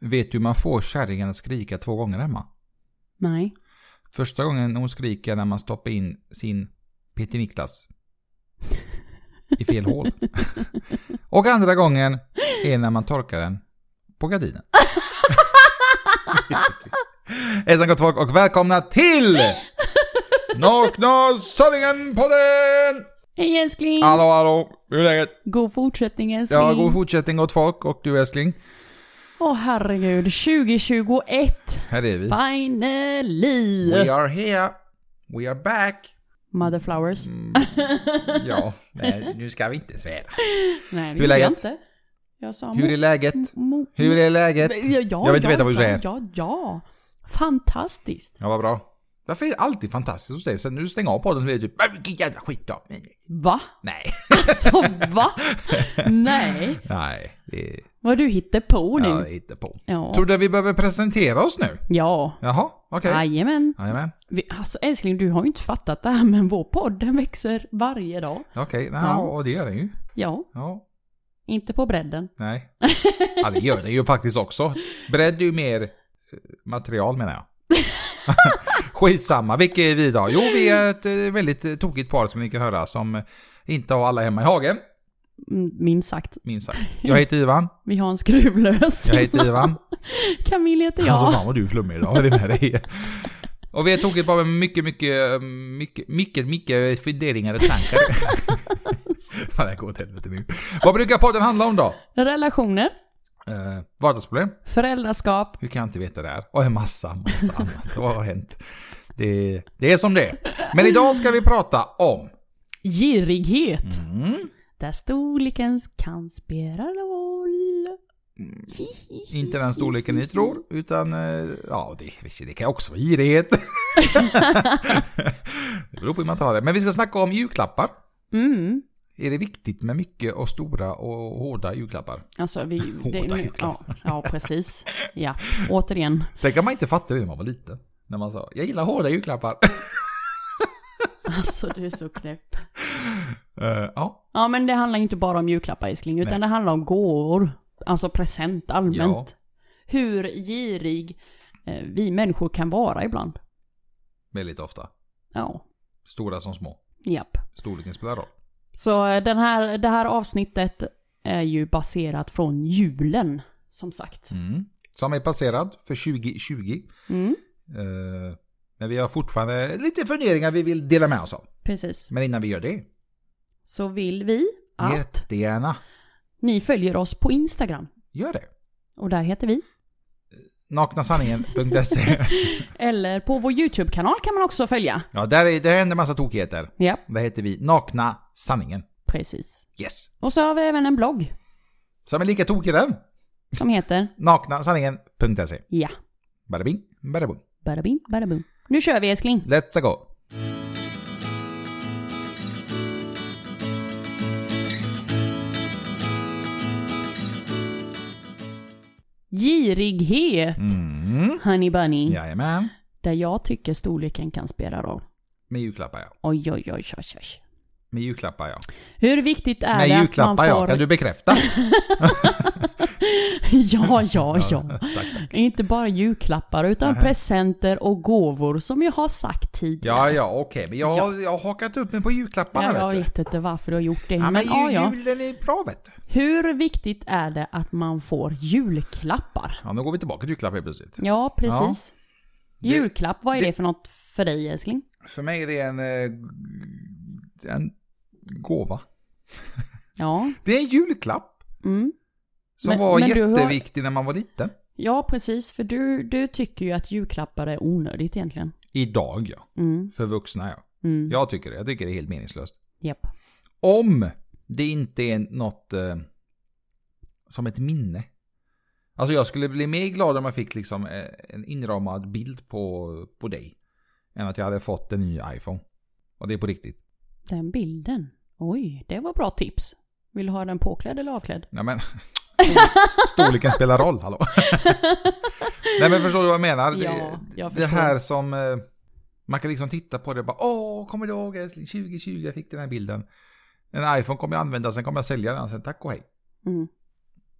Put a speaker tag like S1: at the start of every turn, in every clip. S1: Vet du hur man får kärringen att skrika två gånger, Emma?
S2: Nej.
S1: Första gången hon skriker är när man stoppar in sin Peter Niklas i fel hål. Och andra gången är när man torkar den på gardinen. Hejsan gott folk och välkomna till Nakna Sanningen-podden!
S2: Hej älskling!
S1: Hallå hallå, hur är läget?
S2: God fortsättning älskling.
S1: Ja, god fortsättning gott folk och du älskling.
S2: Åh herregud, 2021!
S1: Här är vi.
S2: Finally!
S1: We are here. We are back.
S2: Motherflowers.
S1: Mm, ja, nej, nu ska vi inte svära.
S2: Nej,
S1: Hur är
S2: det gjorde jag
S1: läget?
S2: inte. Jag sa
S1: Hur är läget?
S2: mo-
S1: Hur är läget?
S2: Ja, ja,
S1: Jag vill inte
S2: ja,
S1: veta vad du
S2: ja,
S1: säger.
S2: Ja, ja. Fantastiskt.
S1: Ja, vad bra. Varför är det alltid fantastiskt hos dig? Sen nu stänger jag av podden så blir det typ "Men vilken jävla skit då. Men,
S2: Va?
S1: Nej.
S2: Alltså va? Nej.
S1: Nej, det
S2: Vad du hittar på
S1: ja,
S2: nu.
S1: hittar på.
S2: Ja.
S1: Tror du att vi behöver presentera oss nu?
S2: Ja.
S1: Jaha, okej.
S2: Jajamän.
S1: Jajamän,
S2: Vi, alltså älskling, du har ju inte fattat det här men vår podd den växer varje dag.
S1: okej. Nej,
S2: Ja.
S1: och det gör den ju.
S2: Ja,
S1: Ja,
S2: inte på bredden.
S1: nej. Ja, det gör den ju faktiskt också. Bredd är ju mer eh, material menar jag. Skitsamma, vilka är vi idag? Jo, vi är ett eh, väldigt eh, tokigt par som ni kan höra som eh, inte har alla hemma i hagen,
S2: Mm, Minst sagt.
S1: minst sagt. Jag heter Ivan.
S2: Vi har en skruvlös.
S1: Jag heter Ivan.
S2: Camilla heter jag.
S1: Alltså fan vad du är flummig idag, vad är det med dig? Och vi är tokigt bara med mycket, mycket, eh, mycket, mycket, mycket funderingar och tankar. fan, det här går åt helvete nu. Vad brukar podden handla om då?
S2: Relationer,
S1: Eh, vardagsproblem?
S2: föräldraskap.
S1: Hur kan jag inte veta det här? Och en massa, massa annat. Vad har hänt? Det, det är som det är. Men idag ska vi prata om...
S2: Girighet.
S1: Mm,
S2: Där storleken kan spela roll.
S1: Mm.
S2: Mm.
S1: inte den storleken ni tror, utan... eh, Ja, det, det kan också vara girighet. det beror på hur man tar det. Men vi ska snacka om julklappar.
S2: Mm.
S1: Är det viktigt med mycket och stora och hårda julklappar?
S2: Alltså vi... Det,
S1: Hårda
S2: nu, ja,
S1: julklappar.
S2: ja, precis. Ja, återigen.
S1: Det kan man inte fatta det när man var liten. När man sa, jag gillar hårda julklappar.
S2: Alltså du är så knäpp.
S1: Eh, ja,
S2: Ja, men det handlar inte bara om julklappar älskling, utan
S1: Nej.
S2: det handlar om gåvor. Alltså present allmänt.
S1: Ja.
S2: Hur girig eh, vi människor kan vara ibland.
S1: väldigt ofta.
S2: Ja,
S1: Stora som små.
S2: japp.
S1: Storleken spelar roll.
S2: Så eh, den här, det här avsnittet är ju baserat från julen, som sagt.
S1: Mm. Som är passerad för 2020.
S2: Mm,
S1: Eh, men vi har fortfarande lite funderingar vi vill dela med oss av.
S2: precis.
S1: Men innan vi gör det,
S2: Så vill vi att
S1: jättegärna
S2: ni följer oss på Instagram.
S1: gör det.
S2: Och där heter vi.
S1: Naknasanningen.se
S2: Eller på vår YouTube-kanal kan man också följa.
S1: Ja, där, är, där händer massa tokigheter.
S2: Ja,
S1: Där heter vi Nakna Sanningen.
S2: precis.
S1: Yes!
S2: Och så har vi även en blogg
S1: Som är lika tokig den.
S2: som heter
S1: Naknasanningen.se
S2: Ja.
S1: Bada bing, bada boom.
S2: Badabim, badabum. Nu kör vi älskling.
S1: Let's go!
S2: Girighet.
S1: Mm.
S2: Honey Bunny.
S1: Jajamän.
S2: Där jag tycker storleken kan spela roll.
S1: Med julklappar ja.
S2: Oj, oj, oj, oj, oj.
S1: Med julklappar ja.
S2: Hur viktigt är
S1: Med
S2: det att man
S1: julklappar ja.
S2: får...
S1: Kan du bekräfta?
S2: ja, ja, ja.
S1: tack, tack.
S2: Inte bara julklappar utan
S1: Nähä.
S2: presenter och gåvor som jag har sagt
S1: Ja,
S2: tidigare.
S1: ja, okej. Men jag, har- jag har hakat upp mig på julklapparna
S2: jag
S1: vet du.
S2: vet inte varför du har gjort det.
S1: Ja,
S2: men
S1: men
S2: ja,
S1: ju,
S2: ja.
S1: julen är bra vet du.
S2: Hur viktigt är det att man får julklappar?
S1: Ja, nu går vi tillbaka till julklappar helt plötsligt.
S2: Ja, precis.
S1: Det-
S2: Julklapp, vad är det,
S1: det-
S2: för något för dig älskling?
S1: För mig är det en... eh, En gåva.
S2: Ja,
S1: Det är en julklapp.
S2: mm.
S1: Som
S2: Men-
S1: var
S2: men du har-
S1: jätteviktig när man var liten.
S2: ja precis. För du, du tycker ju att julklappar är onödigt egentligen.
S1: Idag ja.
S2: Mm,
S1: För vuxna ja.
S2: mm,
S1: Jag tycker det. Jag tycker det är helt meningslöst.
S2: japp.
S1: Om det inte är något eh, som ett minne. Alltså jag skulle bli mer glad om jag fick liksom eh, en inramad bild på, på dig. Än att jag hade fått en ny iPhone. Och det är på riktigt.
S2: Den bilden. Oj, det var bra tips. Vill du ha den påklädd eller avklädd?
S1: Nej men. Storleken spelar roll, hallå. Nej men förstår du vad jag menar?
S2: Ja, jag
S1: det, det
S2: förstår.
S1: här som... eh, Man kan liksom titta på det och bara Åh, kommer du ihåg älskling? 2020 jag fick den här bilden. En iPhone kommer jag använda, sen kommer jag sälja den, sen tack och hej.
S2: Mm.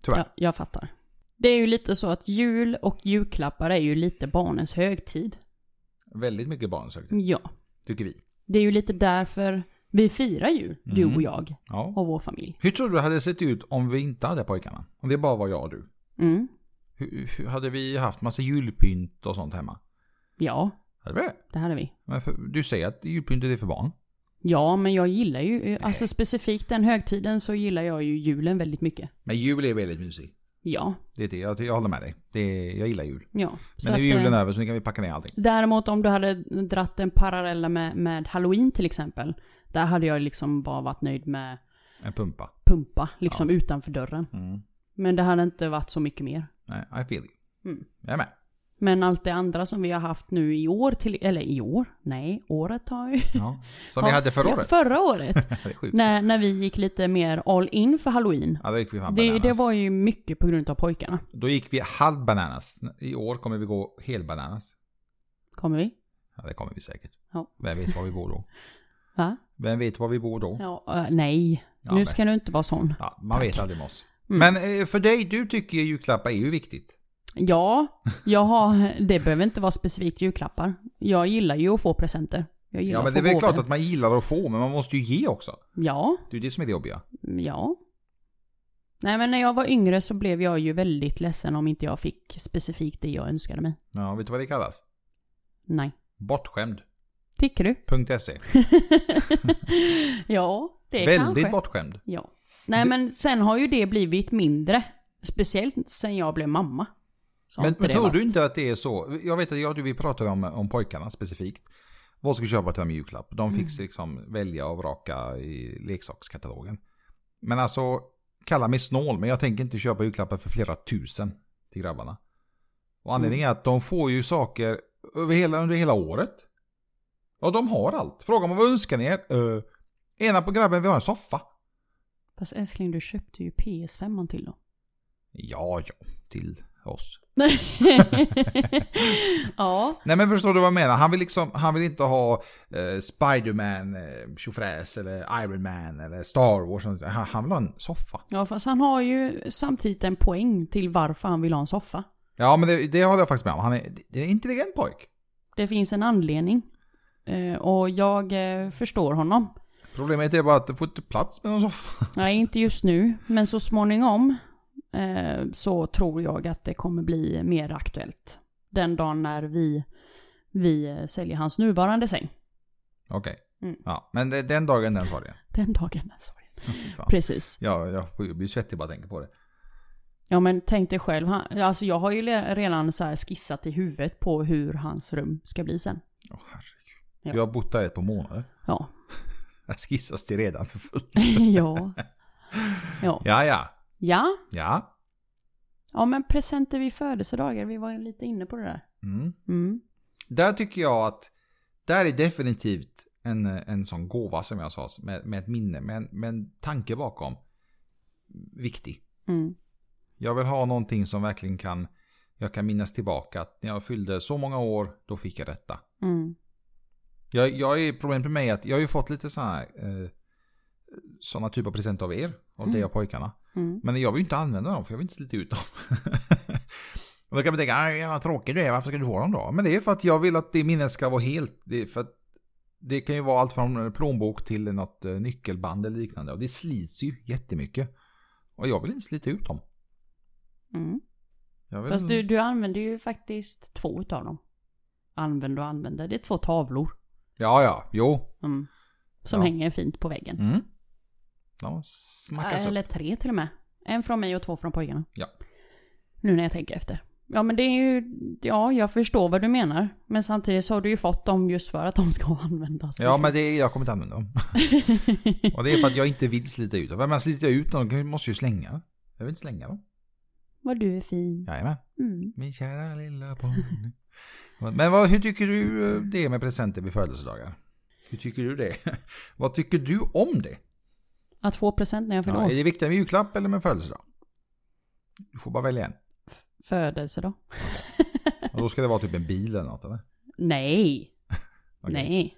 S1: Tyvärr.
S2: Ja, jag fattar. Det är ju lite så att jul och julklappar är ju lite barnens högtid.
S1: Väldigt mycket barnsökt,
S2: Ja.
S1: tycker vi.
S2: Det är ju lite därför vi firar jul, du och jag
S1: Ja.
S2: och vår familj.
S1: Hur tror du det hade sett ut om vi inte hade pojkarna? Om det bara var jag och du?
S2: Mm.
S1: Hur, hur hade vi haft massa julpynt och sånt hemma?
S2: Ja,
S1: Hade vi det?
S2: det hade vi.
S1: Men för, du säger att julpyntet är för barn.
S2: Ja, men jag gillar ju, alltså specifikt den högtiden så gillar jag ju julen väldigt mycket.
S1: Men jul är väldigt mysig.
S2: Ja,
S1: Det är det. Jag, jag håller med dig. Det är, jag gillar jul.
S2: ja.
S1: Men nu är
S2: att,
S1: julen
S2: eh,
S1: över så nu kan vi packa ner allting.
S2: Däremot om du hade dratt en parallell med, med halloween till exempel. Där hade jag liksom bara varit nöjd med
S1: En pumpa.
S2: pumpa, liksom utanför dörren.
S1: Mm.
S2: Men det hade inte varit så mycket mer.
S1: Nej, I feel you.
S2: Mm.
S1: Jag är med.
S2: Men allt det andra som vi har haft nu i år till, eller i år? Nej, året har ju...
S1: Ja. Som vi hade förra
S2: Ja,
S1: året.
S2: Förra året.
S1: det är sjukt.
S2: när, när vi gick lite mer all in för halloween.
S1: Ja, då gick vi fan
S2: Det,
S1: bananas.
S2: det var ju mycket på grund av pojkarna.
S1: Då gick vi halv bananas. I år kommer vi gå hel bananas.
S2: Kommer vi?
S1: Ja, det kommer vi säkert.
S2: Ja.
S1: Vem vet var vi bor då?
S2: Va?
S1: Vem vet var vi bor då?
S2: Ja, eh, nej.
S1: Ja,
S2: nu
S1: men-
S2: ska du inte vara sån.
S1: Ja, man vet aldrig med oss.
S2: Mm.
S1: Men eh, för dig, du tycker ju julklappar är ju viktigt.
S2: Ja, jag har, det behöver inte vara specifikt julklappar. Jag gillar ju att få presenter. Jag gillar
S1: Ja, men
S2: att
S1: det
S2: få
S1: är väl
S2: gåvor.
S1: klart att man gillar att få, men man måste ju ge också.
S2: Ja,
S1: Det är ju det som är det jobbiga.
S2: ja. Nej men när jag var yngre så blev jag ju väldigt ledsen om inte jag fick specifikt det jag önskade mig.
S1: Ja, vet du vad det kallas?
S2: Nej.
S1: Bortskämd.se.
S2: Tycker du?
S1: E.
S2: ja, det
S1: Väldigt
S2: kanske.
S1: bortskämd.
S2: Ja. Nej
S1: Det-
S2: men sen har ju det blivit mindre. Speciellt sen jag blev mamma. Så har
S1: Men,
S2: inte
S1: men
S2: det
S1: tror
S2: varit-
S1: du inte att det är så? Jag vet att jag och du vi pratade om, om pojkarna specifikt. Vad ska vi köpa till dem i julklapp? De
S2: Mm.
S1: fick liksom välja och vraka i leksakskatalogen. Men alltså, kalla mig snål, men jag tänker inte köpa julklappar för flera tusen till grabbarna. Och anledningen
S2: Mm.
S1: är att de får ju saker över hela, under hela året. Ja, de har allt. Frågar man vad önskar ni er? Uh, ena på grabben vill ha en soffa.
S2: Fast älskling, du köpte ju PS5 till då.
S1: Ja, ja, till oss.
S2: ja,
S1: Nej men förstår du vad jag menar? Han vill, liksom, han vill inte ha eh, Spiderman, eh, tjofräs eller Iron Man eller Star Wars. och sånt. Han, han vill ha en soffa.
S2: Ja, fast han har ju samtidigt en poäng till varför han vill ha en soffa.
S1: Ja men det, det håller jag faktiskt med om. Han är, det är en intelligent pojk.
S2: Det finns en anledning. Eh, Och jag eh, förstår honom.
S1: Problemet är bara att det får inte plats med någon soffa.
S2: Nej, inte just nu, men så småningom eh, så tror jag att det kommer bli mer aktuellt. Den dagen när vi, vi eh, säljer hans nuvarande säng.
S1: Okej.
S2: Mm.
S1: Ja, men det, den dagen den sorgen.
S2: Den dagen, sorry.
S1: fan.
S2: Precis.
S1: Ja, jag får ju bli svettig bara jag tänker på det.
S2: Ja, men tänk dig själv. Han, alltså jag har ju le- redan så här skissat i huvudet på hur hans rum ska bli sen.
S1: Åh herregud.
S2: Ja.
S1: Jag har bott där ett par månader.
S2: Ja,
S1: Jag skissas till redan för fullt.
S2: ja. Ja.
S1: Ja, ja.
S2: Ja,
S1: Ja.
S2: Ja men presenter vid födelsedagar, vi var ju lite inne på det där.
S1: Mm.
S2: Mm.
S1: Där tycker jag att där är definitivt en, en sån gåva som jag sa med, med ett minne, med en, med en tanke bakom. Viktig.
S2: Mm.
S1: Jag vill ha någonting som verkligen kan, jag kan minnas tillbaka att när jag fyllde så många år, då fick jag detta.
S2: Mm.
S1: Jag, jag är, problemet med mig är att jag har ju fått lite sådana här, eh, sådana typer av presenter av er, av dig och pojkarna.
S2: Mm.
S1: Men jag vill ju inte använda dem för jag vill inte slita ut dem. och då kan man tänka, "Aj, vad tråkig du är, varför ska du få dem då? Men det är för att jag vill att det minnet ska vara helt. Det, är för att det kan ju vara allt från en plånbok till något eh, nyckelband eller liknande. Och det slits ju jättemycket. Och jag vill inte slita ut dem.
S2: Mm.
S1: Jag vill...
S2: Fast du, du använder ju faktiskt två utav dem. Använder och använder, det är två tavlor.
S1: Ja, ja, jo.
S2: Mm. Som
S1: Ja.
S2: hänger fint på väggen. Äh,
S1: Mm. De smackas
S2: Eller
S1: upp.
S2: tre till och med. En från mig och två från pojkarna.
S1: Ja.
S2: Nu när jag tänker efter. Ja men det är ju, ja jag förstår vad du menar. Men samtidigt så har du ju fått dem just för att de ska användas.
S1: Ja, men det, jag kommer inte använda dem. och det är för att jag inte vill slita ut dem. Men sliter jag ut dem, då måste jag ju slänga. Jag vill inte slänga dem.
S2: Vad du är fin.
S1: Jajamän.
S2: Mm.
S1: Min kära lilla pony. Men vad, hur tycker du eh, det är med presenter vid födelsedagar? Hur tycker du det? Vad tycker du om det?
S2: Att få present när jag fyller
S1: Ja, är
S2: år.
S1: det viktigare med julklapp eller med födelsedag? Du får bara välja en.
S2: Födelsedag.
S1: Och då ska det vara typ en bil eller något eller?
S2: Nej.
S1: Okej.
S2: Nej.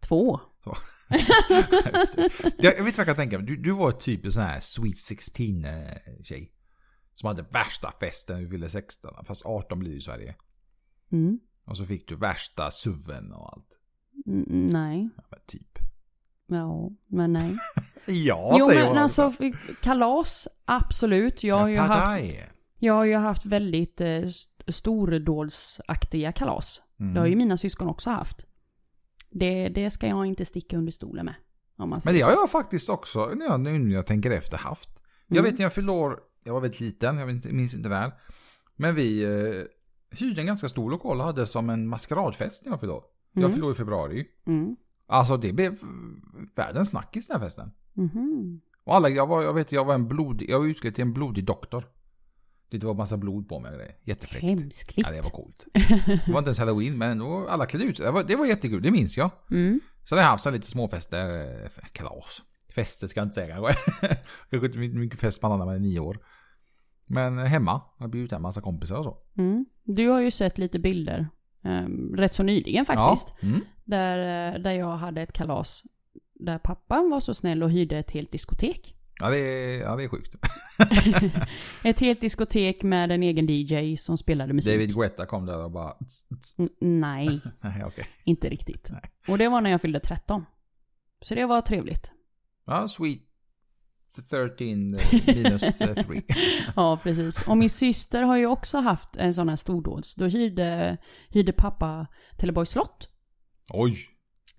S2: Två.
S1: Just det. Jag jag vet vad jag kan tänka mig. Du, du var ett typ en sån här Sweet 16-tjej. Som hade värsta festen när vi fyllde 16. Fast 18 blir det i Sverige.
S2: Mm.
S1: Och så fick du värsta suven och allt.
S2: Mm, Nej.
S1: Ja, men typ.
S2: Ja, men nej.
S1: Ja,
S2: jo,
S1: säger
S2: men
S1: hon.
S2: alltså kalas, absolut. Jag har ju
S1: Pad
S2: haft
S1: thai.
S2: Jag har ju haft väldigt eh, st- stordådsaktiga kalas.
S1: Mm.
S2: Det har ju mina syskon också haft. Det, det ska jag inte sticka under stolen med. Om man
S1: Men
S2: säger
S1: det
S2: så.
S1: har jag faktiskt också, när jag, nu när jag tänker efter, haft. Jag
S2: Mm.
S1: vet när jag fyllde år, jag var väldigt liten, jag vet inte- minns inte väl. Men vi eh, hyrde en ganska stor lokal och hade som en maskeradfest när jag fyllde år. Jag
S2: Mm.
S1: fyllde år i februari.
S2: Mm.
S1: Alltså det blev mm, världens snackis den här festen.
S2: Mhm.
S1: Och alla, jag var, jag vet, jag var en blodig, jag var utklädd till en blodig doktor. Det var massa blod på mig och grejer. Jättefräckt.
S2: Hemskligt.
S1: Ja, det var coolt. Det var inte ens halloween, men då alla klädde ut sig. Det var, det var jättekul, det minns jag.
S2: Mm.
S1: Sen har jag haft så här lite småfester, eh, kalas. Fester ska jag inte säga kanske. Kanske inte mycket fest man annan man är nio år. Men eh, hemma, jag har bjudit hem massa kompisar och så.
S2: Mm. Du har ju sett lite bilder. ehm, rätt så nyligen faktiskt.
S1: Ja, mm.
S2: Där, eh, där jag hade ett kalas. Där pappan var så snäll och hyrde ett helt diskotek.
S1: ja, det, är, ja det är sjukt.
S2: Ett helt diskotek med en egen DJ som spelade musik.
S1: David Guetta kom där och bara... tss, tss.
S2: N- nej.
S1: Nej, okej.
S2: Inte riktigt.
S1: Nej.
S2: Och det var när jag fyllde 13. Så det var trevligt.
S1: Ja, sweet 13 eh, minus 3.
S2: Ja, precis. Och min syster har ju också haft en sån här stordåds. Då hyrde, hyrde pappa Trelleborgs slott.
S1: Oj,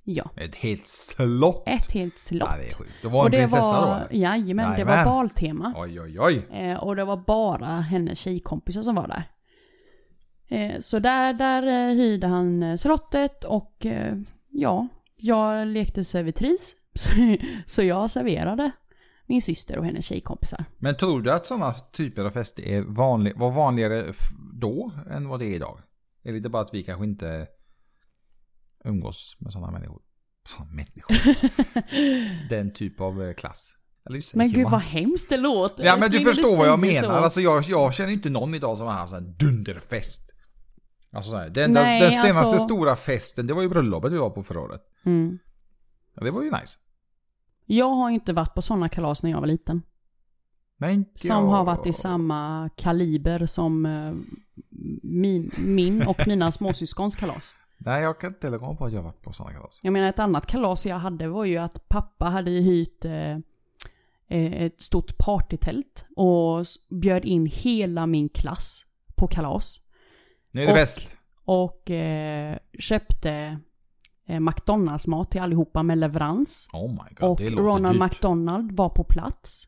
S2: Ja,
S1: ett helt slott.
S2: ett helt slott.
S1: Ja, det är sjukt. Det var en prinsessa
S2: var,
S1: då?
S2: Jajamän, det
S1: Jajamän.
S2: var baltema.
S1: Oj, oj, oj.
S2: Eh, och det var bara hennes tjejkompisar som var där. Eh, så där, där eh, hyrde han eh, slottet och eh, ja, jag lekte servitris. Så, så jag serverade min syster och hennes tjejkompisar.
S1: Men tror du att sådana typer av fester är vanlig, var vanligare f- då än vad det är idag? Eller är det bara att vi kanske inte umgås med sådana människor? Sådana människor? Den typ av eh, klass. Eller hur säger
S2: Men gud
S1: man?
S2: vad hemskt det låter.
S1: Ja men
S2: Älskling,
S1: du
S2: när
S1: förstår vad jag
S2: säger
S1: menar.
S2: så.
S1: Alltså jag, jag känner ju inte någon idag som har haft en dunderfest. Alltså så här, den, den-
S2: Nej,
S1: den senaste
S2: alltså-
S1: stora festen, det var ju bröllopet vi var på förra året.
S2: Mm.
S1: Ja, det var ju nice.
S2: Jag har inte varit på sådana kalas när jag var liten.
S1: Men inte
S2: Som
S1: jag...
S2: har varit i samma kaliber som eh, min, min och mina småsyskons kalas.
S1: Nej jag kan inte heller komma på att jag har varit på sådana kalas.
S2: Jag menar ett annat kalas jag hade var ju att pappa hade ju hyrt eh, eh, ett stort partytält och s- bjöd in hela min klass på kalas.
S1: Nu är det
S2: Och-
S1: fest.
S2: Och eh, köpte eh, McDonalds-mat till allihopa med leverans.
S1: Oh my god,
S2: och
S1: det låter
S2: Ronald
S1: dyrt.
S2: McDonald var på plats.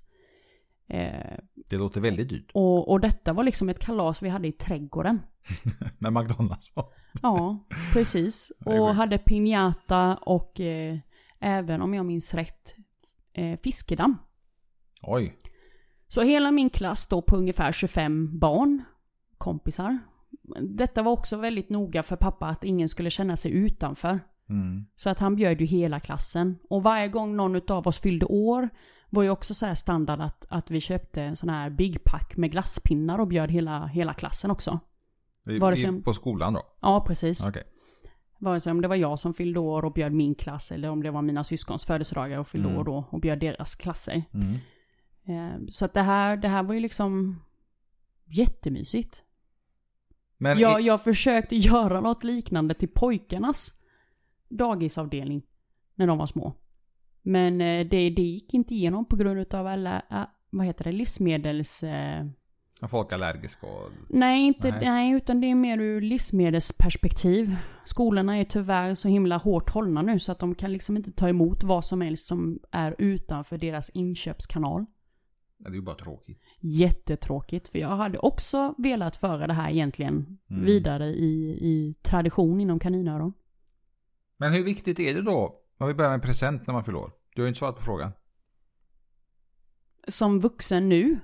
S2: Eh,
S1: Det låter väldigt dyrt.
S2: och, och detta var liksom ett kalas vi hade i trädgården.
S1: Med McDonalds var.
S2: Ja, precis.
S1: Det är
S2: Och
S1: sjukt.
S2: hade pinjata och eh, även om jag minns rätt eh, fiskedamm.
S1: Oj.
S2: Så hela min klass då på ungefär 25 barn, kompisar. Detta var också väldigt noga för pappa att ingen skulle känna sig utanför.
S1: Mm.
S2: Så att han bjöd ju hela klassen. Och varje gång någon av oss fyllde år var ju också så här standard att, att vi köpte en sån här big pack med glasspinnar och bjöd hela, hela klassen också.
S1: Vi,
S2: Var det
S1: vi,
S2: som-
S1: På skolan då?
S2: Ja, precis.
S1: Okej.
S2: Vare sig om det var jag som fyllde år och bjöd min klass eller om det var mina syskons födelsedagar och fyllde
S1: Mm.
S2: år då och bjöd deras klasser.
S1: Mm.
S2: Eh, Så att det här, det här var ju liksom jättemysigt.
S1: Men
S2: jag,
S1: i-
S2: jag försökte göra något liknande till pojkarnas dagisavdelning när de var små. Men eh, det, det gick inte igenom på grund av alla, ah, vad heter det, livsmedels... eh,
S1: är folk allergiska och...
S2: Nej, inte,
S1: Nej.
S2: nej. utan det är mer ur livsmedelsperspektiv. Skolorna är tyvärr så himla hårt hållna nu så att de kan liksom inte ta emot vad som helst som är utanför deras inköpskanal.
S1: Det är ju bara tråkigt.
S2: Jättetråkigt, för jag hade också velat föra det här egentligen
S1: Mm.
S2: vidare i, i tradition inom kaninöron.
S1: Men hur viktigt är det då? Om vi börjar med present när man fyller år. Du har ju inte svarat på frågan.
S2: Som vuxen nu,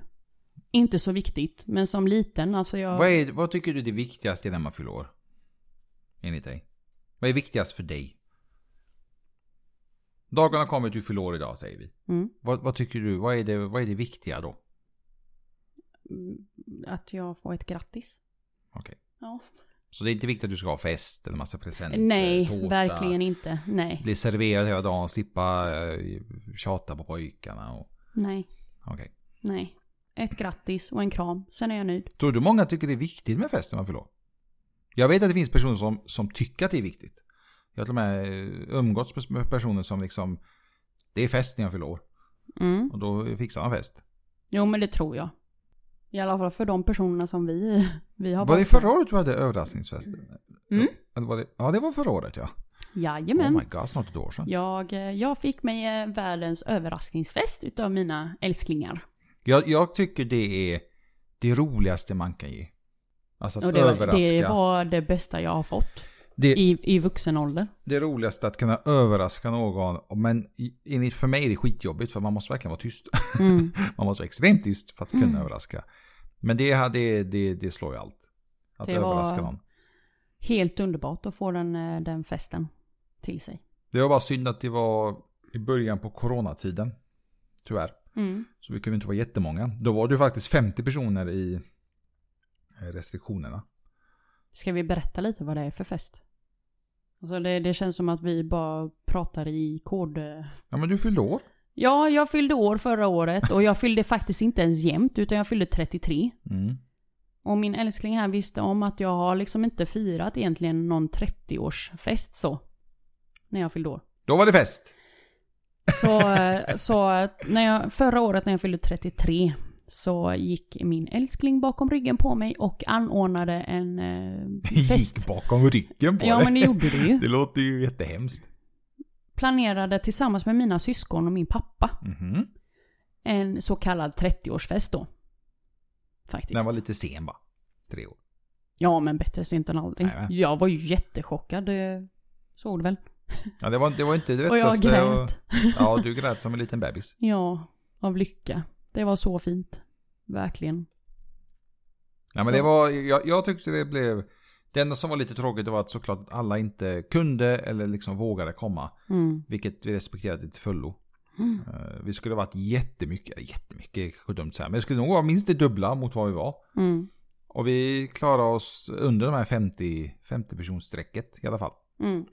S2: inte så viktigt, men som liten, alltså jag...
S1: Vad, är, vad tycker du det viktigaste är när man fyller år? Enligt dig. Vad är viktigast för dig? Dagarna har kommit, du fyller år idag säger vi.
S2: Mm.
S1: Vad, vad tycker du? Vad är, det, vad är det viktiga då?
S2: Mm, Att jag får ett grattis.
S1: Okej.
S2: Ja.
S1: Så det är inte viktigt att du ska ha fest eller massa presenter?
S2: Nej,
S1: tårta.
S2: verkligen inte. Nej.
S1: Bli serverad hela dagen, slippa eh, tjata på pojkarna och...
S2: Nej.
S1: Okej.
S2: Nej. ett grattis och en kram, sen är jag nöjd.
S1: Tror du många tycker det är viktigt med fest när man fyller år? Jag vet att det finns personer som, som tycker att det är viktigt. Jag har till och med eh, umgåtts med personer som liksom, det är fest när jag fyller år.
S2: Mm.
S1: Och då fixar man fest.
S2: Jo, men det tror jag. I alla fall för de personerna som vi, vi har
S1: Var det
S2: valt.
S1: förra året du hade överraskningsfest?
S2: Mm.
S1: Eller var det, ja, det var förra året ja.
S2: Jajamän.
S1: Oh my god, snart ett år sedan.
S2: jag, eh, jag fick mig eh, världens överraskningsfest utav mina älsklingar.
S1: Jag, jag tycker det är det roligaste man kan ge. Alltså att
S2: Och det, var,
S1: överraska.
S2: det var det bästa jag har fått
S1: det,
S2: i, i vuxen ålder.
S1: det roligaste att kunna överraska någon. Men i- enligt för mig är det skitjobbigt för man måste verkligen vara tyst.
S2: Mm.
S1: Man måste vara extremt tyst för att kunna
S2: Mm.
S1: överraska. Men det, här, det, det, det slår ju allt. Att
S2: Det var-
S1: överraska någon.
S2: Helt underbart att få den, eh, den festen till sig.
S1: Det var bara synd att det var i början på coronatiden. Tyvärr.
S2: Mm.
S1: Så vi kunde inte vara jättemånga. Då var det ju faktiskt 50 personer i eh, restriktionerna.
S2: Ska vi berätta lite vad det är för fest? Alltså det, det känns som att vi bara pratar i kod. eh.
S1: Ja men du fyllde år.
S2: Ja, jag fyllde år förra året och jag fyllde faktiskt inte ens jämnt utan jag fyllde 33.
S1: Mm.
S2: Och min älskling här visste om att jag har liksom inte firat egentligen någon 30-årsfest så. När jag fyllde år.
S1: Då var det fest.
S2: Så, eh, så eh, när jag, förra året när jag fyllde 33 så gick min älskling bakom ryggen på mig och anordnade en eh, fest.
S1: Gick bakom ryggen på
S2: Ja
S1: dig.
S2: men det gjorde det ju.
S1: Det låter ju jättehemskt.
S2: Planerade tillsammans med mina syskon och min pappa
S1: Mhm.
S2: en så kallad 30-årsfest då. Faktiskt.
S1: Den var lite sen va? Tre år.
S2: Ja men bättre sent än aldrig.
S1: Nej, men.
S2: Jag var ju jättechockad. det Såg du väl?
S1: Ja det var, det var inte det
S2: Och jag
S1: lättaste
S2: grät.
S1: och- Ja du grät som en liten bebis.
S2: Ja, av lycka. Det var så fint. Verkligen.
S1: Ja men
S2: Så.
S1: det var, jag, jag tyckte det blev... Det enda som var lite tråkigt det var att såklart att alla inte kunde eller liksom vågade komma.
S2: Mm.
S1: Vilket vi respekterade till fullo.
S2: Mm.
S1: Eh, Vi skulle ha varit jättemycket, jättemycket är dumt så här, men det skulle nog vara minst det dubbla mot vad vi var.
S2: Mm.
S1: Och vi klarade oss under de här 50, 50 personstrecket i alla fall.
S2: Mm.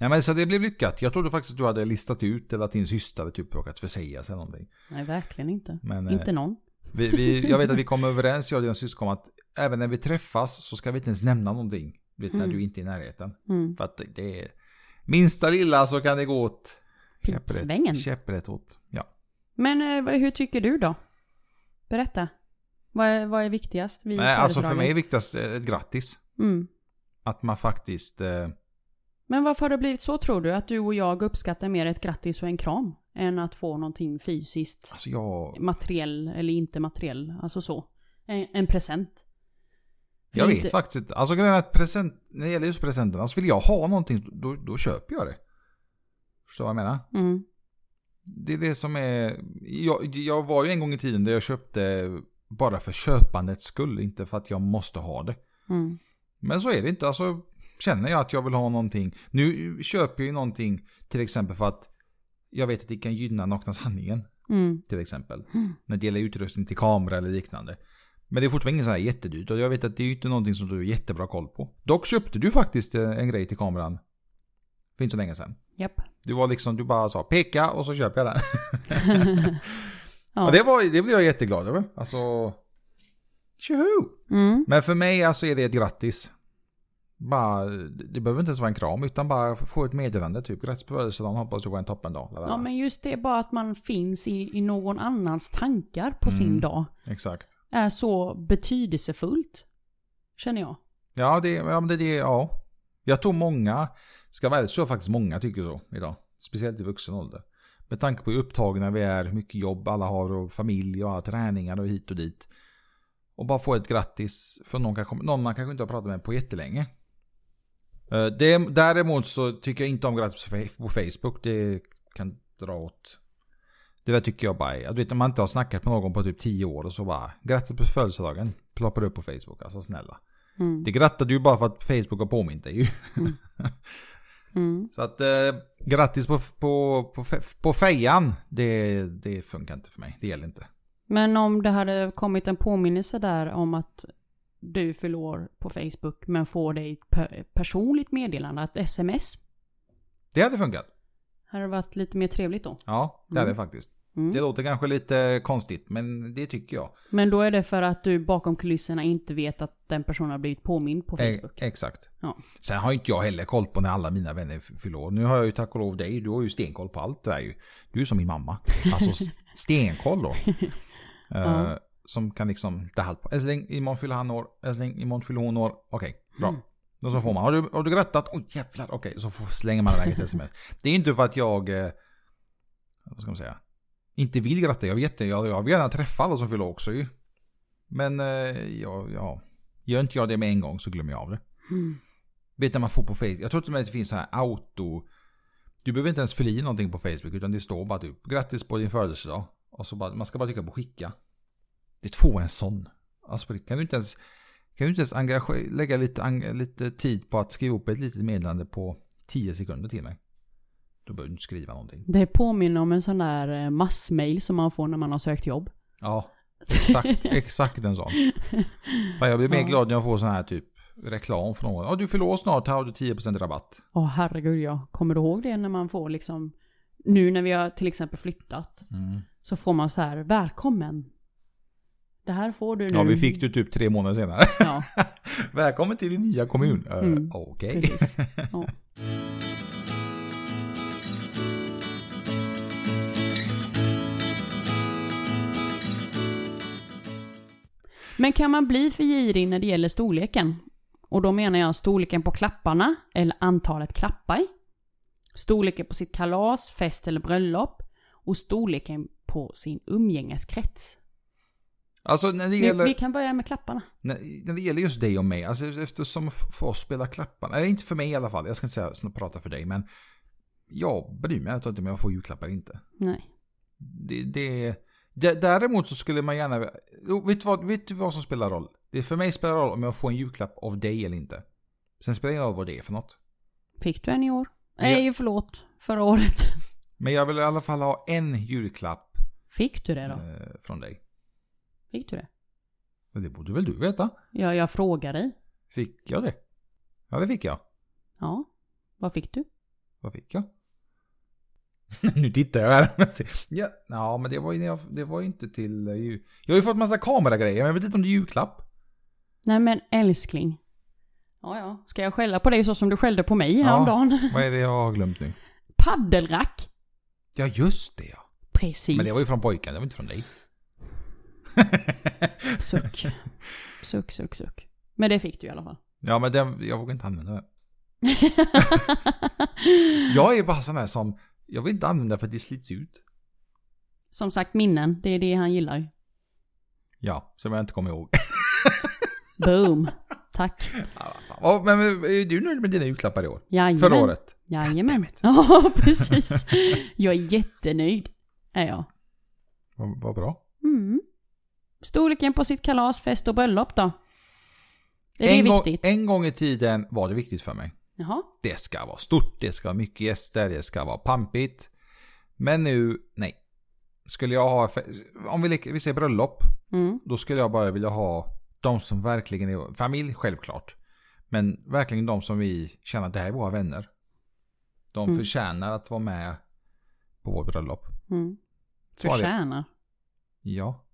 S1: Nej men så det blev lyckat. Jag trodde faktiskt att du hade listat ut eller att din syster hade typ råkat försäga sig eller någonting.
S2: Nej, verkligen inte.
S1: Men eh,
S2: Inte någon.
S1: vi, vi, jag vet att vi kom överens jag och dina syskon om att även när vi träffas så ska vi inte ens nämna någonting. Du Vet, när
S2: Mm.
S1: du inte är i närheten.
S2: Mm.
S1: För att det är minsta lilla så kan det gå åt
S2: Pipsvängen.
S1: käpprätt, käpprätt åt. Ja.
S2: Men eh, vad- hur tycker du då? Berätta. Vad är, vad är viktigast vid
S1: Nej, alltså för mig är
S2: föredragen?
S1: viktigast eh, ett grattis.
S2: Mm.
S1: Att man faktiskt... Eh,
S2: Men varför har det blivit så tror du? Att du och jag uppskattar mer ett grattis och en kram än att få någonting fysiskt,
S1: alltså jag...
S2: materiell eller inte materiell, alltså så. En, en present. För
S1: Jag
S2: det är
S1: vet
S2: inte-
S1: faktiskt inte. Alltså grejen är att present, när det gäller just presenterna så vill jag ha någonting, då, då köper jag det. Förstår vad jag menar?
S2: Mm.
S1: Det är det som är... Jag, jag var ju en gång i tiden där jag köpte bara för köpandets skull, inte för att jag måste ha det.
S2: Mm.
S1: Men så är det inte. Alltså, känner jag att jag vill ha någonting. Nu köper jag ju någonting till exempel för att jag vet att det kan gynna Nakna sanningen.
S2: Mm.
S1: till exempel.
S2: Mm.
S1: När det gäller utrustning till kamera eller liknande. Men det är fortfarande inget sån här jättedyrt och jag vet att det är ju inte någonting som du har jättebra koll på. Dock köpte du faktiskt eh, en grej till kameran för inte så länge sedan.
S2: Japp.
S1: Du var liksom, du bara sa peka och så köper jag den.
S2: Ja.
S1: Och det, var, det blev jag jätteglad över. Alltså, tjoho!
S2: Mm.
S1: Men för mig alltså är det ett grattis. Bara, det behöver inte ens vara en kram utan bara få ett meddelande typ. Grattis på födelsedagen, hoppas du får en toppendag.
S2: Ja men just det, bara att man finns i, i någon annans tankar på sin
S1: Mm.
S2: dag
S1: Exakt.
S2: är så betydelsefullt. Känner jag.
S1: Ja, det, ja, men det, det, ja. Jag tror många, ska vara ärlig, så tror jag faktiskt många tycker så idag. Speciellt i vuxen ålder. Med tanke på hur upptagna vi är, hur mycket jobb alla har och familj och alla träningar och hit och dit. Och bara få ett grattis från någon, kanske, någon man kanske inte har pratat med på jättelänge. Eh, Det, däremot så tycker jag inte om grattis på Fe- på Facebook. Det kan dra åt... Det där tycker jag bara är... alltså, Du vet om man inte har snackat med någon på typ 10 år och så bara grattis på födelsedagen. Ploppar upp på Facebook. Alltså snälla.
S2: Mm.
S1: Det grattade du ju bara för att Facebook har påmint dig ju.
S2: Mm.
S1: Så att eh, grattis på, på, på, fe- på fejan, det, det funkar inte för mig. Det gäller inte.
S2: Men om det hade kommit en påminnelse där om att du förlorar på Facebook men får dig ett pe- personligt meddelande, ett sms.
S1: Det hade funkat.
S2: Hade det varit lite mer trevligt då?
S1: Ja, det hade
S2: Mm.
S1: det faktiskt.
S2: Mm.
S1: Det låter kanske lite konstigt, men det tycker jag.
S2: Men då är det för att du bakom kulisserna inte vet att den personen har blivit påmind på
S1: E-
S2: Facebook.
S1: exakt.
S2: Ja.
S1: Sen har inte jag heller koll på när alla mina vänner f- fyller år. Nu har jag ju tack och lov dig, du har ju stenkoll på allt det där ju. Du är ju som min mamma. Alltså s- stenkoll då. Eh,
S2: Ja.
S1: Som kan liksom ta halt på. Älskling, imorgon fyller han år. Älskling, imorgon fyller hon år. Okej, bra. Då så får man, har du, har du grattat? Oj jävlar, okej. så får, slänger man iväg ett sms. Det är inte för att jag, eh, vad ska man säga, inte vill gratta. Jag vet det, jag, jag vill gärna träffa alla som fyller år också ju. Men eh, ja, ja, gör inte jag det med en gång så glömmer jag av det.
S2: Mm.
S1: Vet när man får på Facebook. Jag tror till och med att det finns så här auto. Du behöver inte ens fylla i någonting på Facebook utan det står bara typ grattis på din födelsedag. Och så bara, man ska bara trycka på skicka. Det får en sån. Alltså på riktigt, kan du inte ens, kan du inte ens engage, lägga lite, eng- lite tid på att skriva upp ett litet meddelande på 10 sekunder till mig? Då behöver du inte skriva någonting.
S2: Det påminner om en sån där eh, massmail som man får när man har sökt jobb.
S1: Ja, exakt, exakt en sån. Fan, jag blir mer
S2: Ja.
S1: glad när jag får sån här typ reklam från någon. Ja, du förlorar snart, här har du 10% rabatt.
S2: Åh herregud ja, kommer du ihåg det när man får liksom, nu när vi har till exempel flyttat,
S1: Mm.
S2: så får man så här, välkommen. Det här får du nu.
S1: Ja, vi fick det typ tre månader senare.
S2: Ja,
S1: Välkommen till din nya kommun. Eh,
S2: Mm.
S1: Okej.
S2: precis. Ja. Men kan man bli för girig när det gäller storleken? Och då menar jag storleken på klapparna, eller antalet klappar. Storleken på sitt kalas, fest eller bröllop. Och storleken på sin umgängeskrets.
S1: Alltså när det,
S2: Vi,
S1: gäller,
S2: vi kan börja med klapparna.
S1: när, när det gäller just dig och mig, alltså eftersom f- för oss spelar klapparna, eller inte för mig i alla fall, jag ska inte säga snart prata för dig, men jag bryr mig inte om jag får julklappar eller inte.
S2: Nej.
S1: Det, det, d- däremot så skulle man gärna, Jo, vet du, vad, vet du vad som spelar roll? Det för mig spelar roll om jag får en julklapp av dig eller inte. Sen spelar det ingen roll vad det är för något.
S2: Fick du en i år?
S1: Ja.
S2: Nej, förlåt. Förra året.
S1: Men jag vill i alla fall ha en julklapp
S2: Fick du det då?
S1: eh, från dig.
S2: Fick du det?
S1: Men det borde väl du veta?
S2: Ja, jag frågar dig.
S1: Fick jag det? Ja, det fick jag.
S2: Ja. Vad fick du?
S1: Vad fick jag? nu tittar jag här. ja, ja, men det var ju, när jag- det var ju inte till... eh, ju- Jag har ju fått massa kameragrejer, men jag vet inte om det är julklapp.
S2: Nej men älskling. Ja, ja. Ska jag skälla på dig så som du skällde på mig
S1: Ja.
S2: häromdagen?
S1: Vad är det jag har glömt nu?
S2: Paddelrack.
S1: Ja, just det ja.
S2: Precis.
S1: Men det var ju från pojken, det var inte från dig.
S2: Suck. Suck, suck, suck. Men det fick du i alla fall.
S1: Ja, men den, jag vågar inte använda den. Jag är bara sån här som... Jag vill inte använda för att det slits ut.
S2: som sagt, minnen. Det är det han gillar.
S1: Ja, som jag inte kommer ihåg.
S2: Boom. Tack.
S1: Ja, vad fan. Ja, men är du nöjd med dina julklappar i år?
S2: Jajamän.
S1: Förra året?
S2: Jajamän.
S1: Goddammit.
S2: Ja, precis. Jag är jättenöjd. Är jag.
S1: Vad vad bra.
S2: Mm. Storleken på sitt kalas, fest och bröllop då? Är det
S1: en, gång,
S2: viktigt?
S1: en gång i tiden var det viktigt för mig.
S2: Jaha.
S1: Det ska vara stort, det ska vara mycket gäster, det ska vara pampigt. Men nu, nej. Skulle jag ha, om vi, leker- vi säger bröllop,
S2: Mm.
S1: då skulle jag bara vilja ha de som verkligen är, familj självklart. Men verkligen de som vi känner att det här är våra vänner. De
S2: Mm.
S1: förtjänar att vara med på vårt bröllop.
S2: Mm.
S1: Så var det.
S2: Förtjänar.
S1: Ja.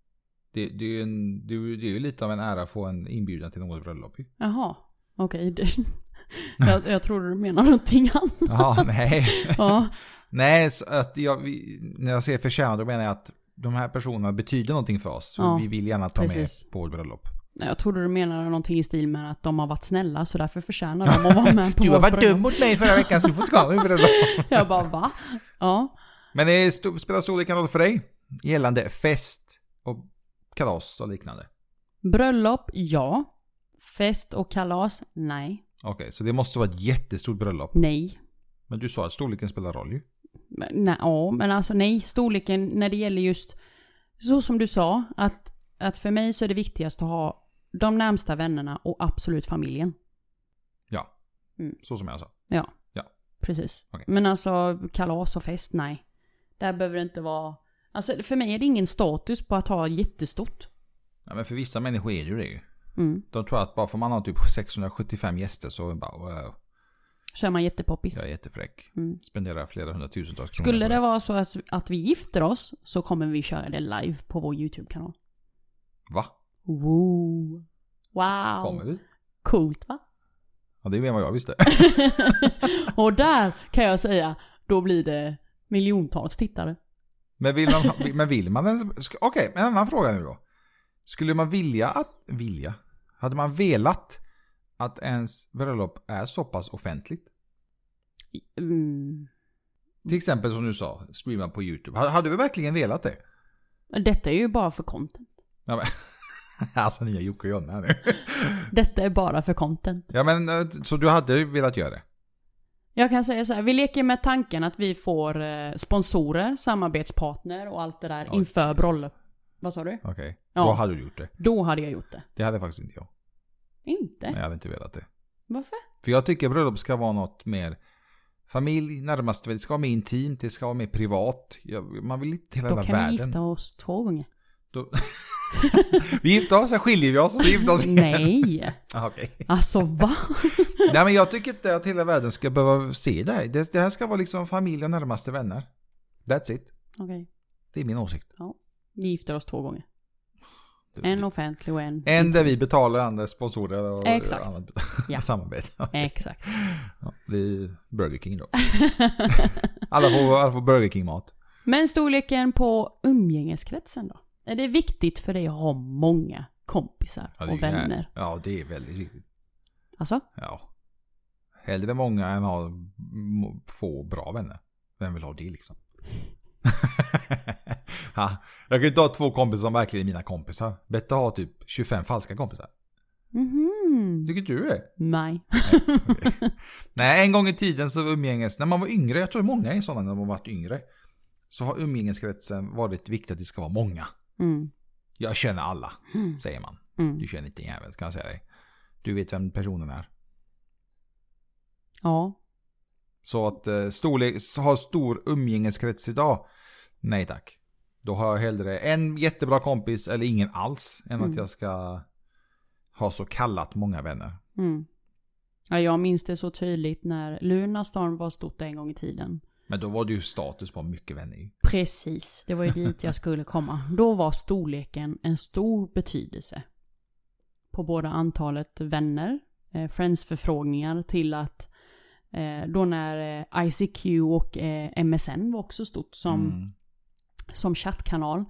S1: Det, det, är ju en, det, är ju- det är ju lite av en ära att få en inbjudan till något bröllop ju.
S2: Jaha, okej. det- jag, jag trodde du menade någonting annat.
S1: Ja, nej.
S2: Ja.
S1: Nej, så att jag, vi, när jag säger förtjänar då menar jag att de här personerna betyder någonting för oss.
S2: Ja,
S1: vi vill gärna ta
S2: precis.
S1: med på vårt bröllop.
S2: Nej, Jag trodde du menade någonting i stil med att de har varit snälla så därför förtjänar de att vara med på
S1: Du har
S2: vårt
S1: varit dum
S2: bröllop.
S1: mot mig förra veckan så du får inte komma på bröllop.
S2: Jag bara va? Ja.
S1: Men det är stor- spelar storleken roll för dig? Gällande fest och kalas och liknande.
S2: Bröllop, ja. Fest och kalas, nej.
S1: Okej, så det måste vara ett jättestort bröllop.
S2: Nej.
S1: Men du sa att storleken spelar roll ju.
S2: Men- Nej, ja, men alltså nej, storleken när det gäller just så som du sa, att, att för mig så är det viktigast att ha de närmsta vännerna och absolut familjen.
S1: Ja,
S2: Mm.
S1: så som jag sa.
S2: Ja.
S1: Ja.
S2: Precis.
S1: Okej.
S2: Men alltså kalas och fest, nej. Där behöver det inte vara... Alltså för mig är det ingen status på att ha jättestort.
S1: Ja, men för vissa människor är det ju det ju.
S2: Mm.
S1: De tror att bara för man har typ 675 gäster så är det bara wow.
S2: Så är man jättepoppis.
S1: Jag är jättefräck.
S2: Mm.
S1: Spenderar flera hundratusentals kronor.
S2: Skulle
S1: på
S2: det vara så att, att vi gifter oss så kommer vi köra det live på vår YouTube-kanal.
S1: Va?
S2: Wow. Wow.
S1: Kommer vi?
S2: Coolt va?
S1: Ja, det är mer än vad jag visste.
S2: och där kan jag säga, då blir det miljontals tittare.
S1: Men vill man... ha- men vill man ens- ska- Okej, en annan fråga nu då. Skulle man vilja att... Vilja? Hade man velat att ens bröllop är så pass offentligt?
S2: Mm.
S1: Till exempel som du sa, streama på YouTube. Ha- Hade du verkligen velat det?
S2: Detta är ju bara för content.
S1: Ja, men... alltså nya Jocke och Jonna här nu.
S2: Detta är bara för content.
S1: Ja men, eh, så du hade velat göra det?
S2: Jag kan säga så här, vi leker med tanken att vi får eh, sponsorer, samarbetspartner och allt det där
S1: Ja,
S2: inför
S1: Jesus.
S2: bröllop. Vad sa du?
S1: Okej.
S2: Ja.
S1: Då hade du gjort det.
S2: Då hade jag gjort det.
S1: Det hade faktiskt inte jag.
S2: Inte?
S1: Nej, jag hade inte velat det.
S2: Varför?
S1: För jag tycker bröllop ska vara något mer familj, närmast, det ska vara mer intimt, det ska vara mer privat. Jag, man vill inte hela
S2: Då
S1: den
S2: kan vi
S1: världen.
S2: gifta oss två gånger.
S1: Då... vi gifter oss, sen skiljer vi oss och så gifter oss igen.
S2: Nej!
S1: Ah, okej.
S2: Alltså va?
S1: Nej men jag tycker inte att hela världen ska behöva se det här. Det, det här ska vara liksom familj och närmaste vänner. That's it.
S2: Okej,
S1: Det är min åsikt.
S2: vi gifter oss två gånger. En offentlig och en...
S1: En där vi betalar andra sponsorer och
S2: Exakt.
S1: annat
S2: Ja.
S1: samarbete.
S2: Exakt.
S1: Ja, det är Burger King då. alla, får, alla får Burger King-mat.
S2: Men storleken på umgängeskretsen då? Är det viktigt för dig att ha många kompisar
S1: Ja, det är
S2: och
S1: ju här-
S2: vänner?
S1: Ja, det är väldigt viktigt.
S2: Alltså?
S1: Ja. Hellre många än ha m- få bra vänner. Vem vill ha det liksom? ha, jag kan ju inte ha två kompisar som verkligen är mina kompisar. Bättre ha typ 25 falska kompisar.
S2: Mhm.
S1: Tycker du det?
S2: Nej.
S1: Nej, en gång i tiden så var umgänges, när man var yngre, jag tror många är sådana när man varit yngre. Så har umgängeskretsen varit viktigt att det ska vara många.
S2: Mm.
S1: Jag känner alla,
S2: Mm.
S1: säger man.
S2: Mm.
S1: Du känner inte en jävel, kan jag säga dig. Du vet vem personen är.
S2: Ja.
S1: Så att eh, storlek, så ha stor umgängeskrets idag? Nej tack. Då har jag hellre en jättebra kompis eller ingen alls än
S2: Mm.
S1: att jag ska ha så kallat många vänner.
S2: Mm. ja. Jag minns det så tydligt när Lunarstorm var stort en gång i tiden.
S1: Men då var det ju status på mycket vänner ju.
S2: Precis, det var ju dit jag skulle komma. Då var storleken en stor betydelse. På både antalet vänner, eh, friendsförfrågningar till att eh, då när eh, ICQ och eh, MSN var också stort som,
S1: Mm.
S2: som chattkanal.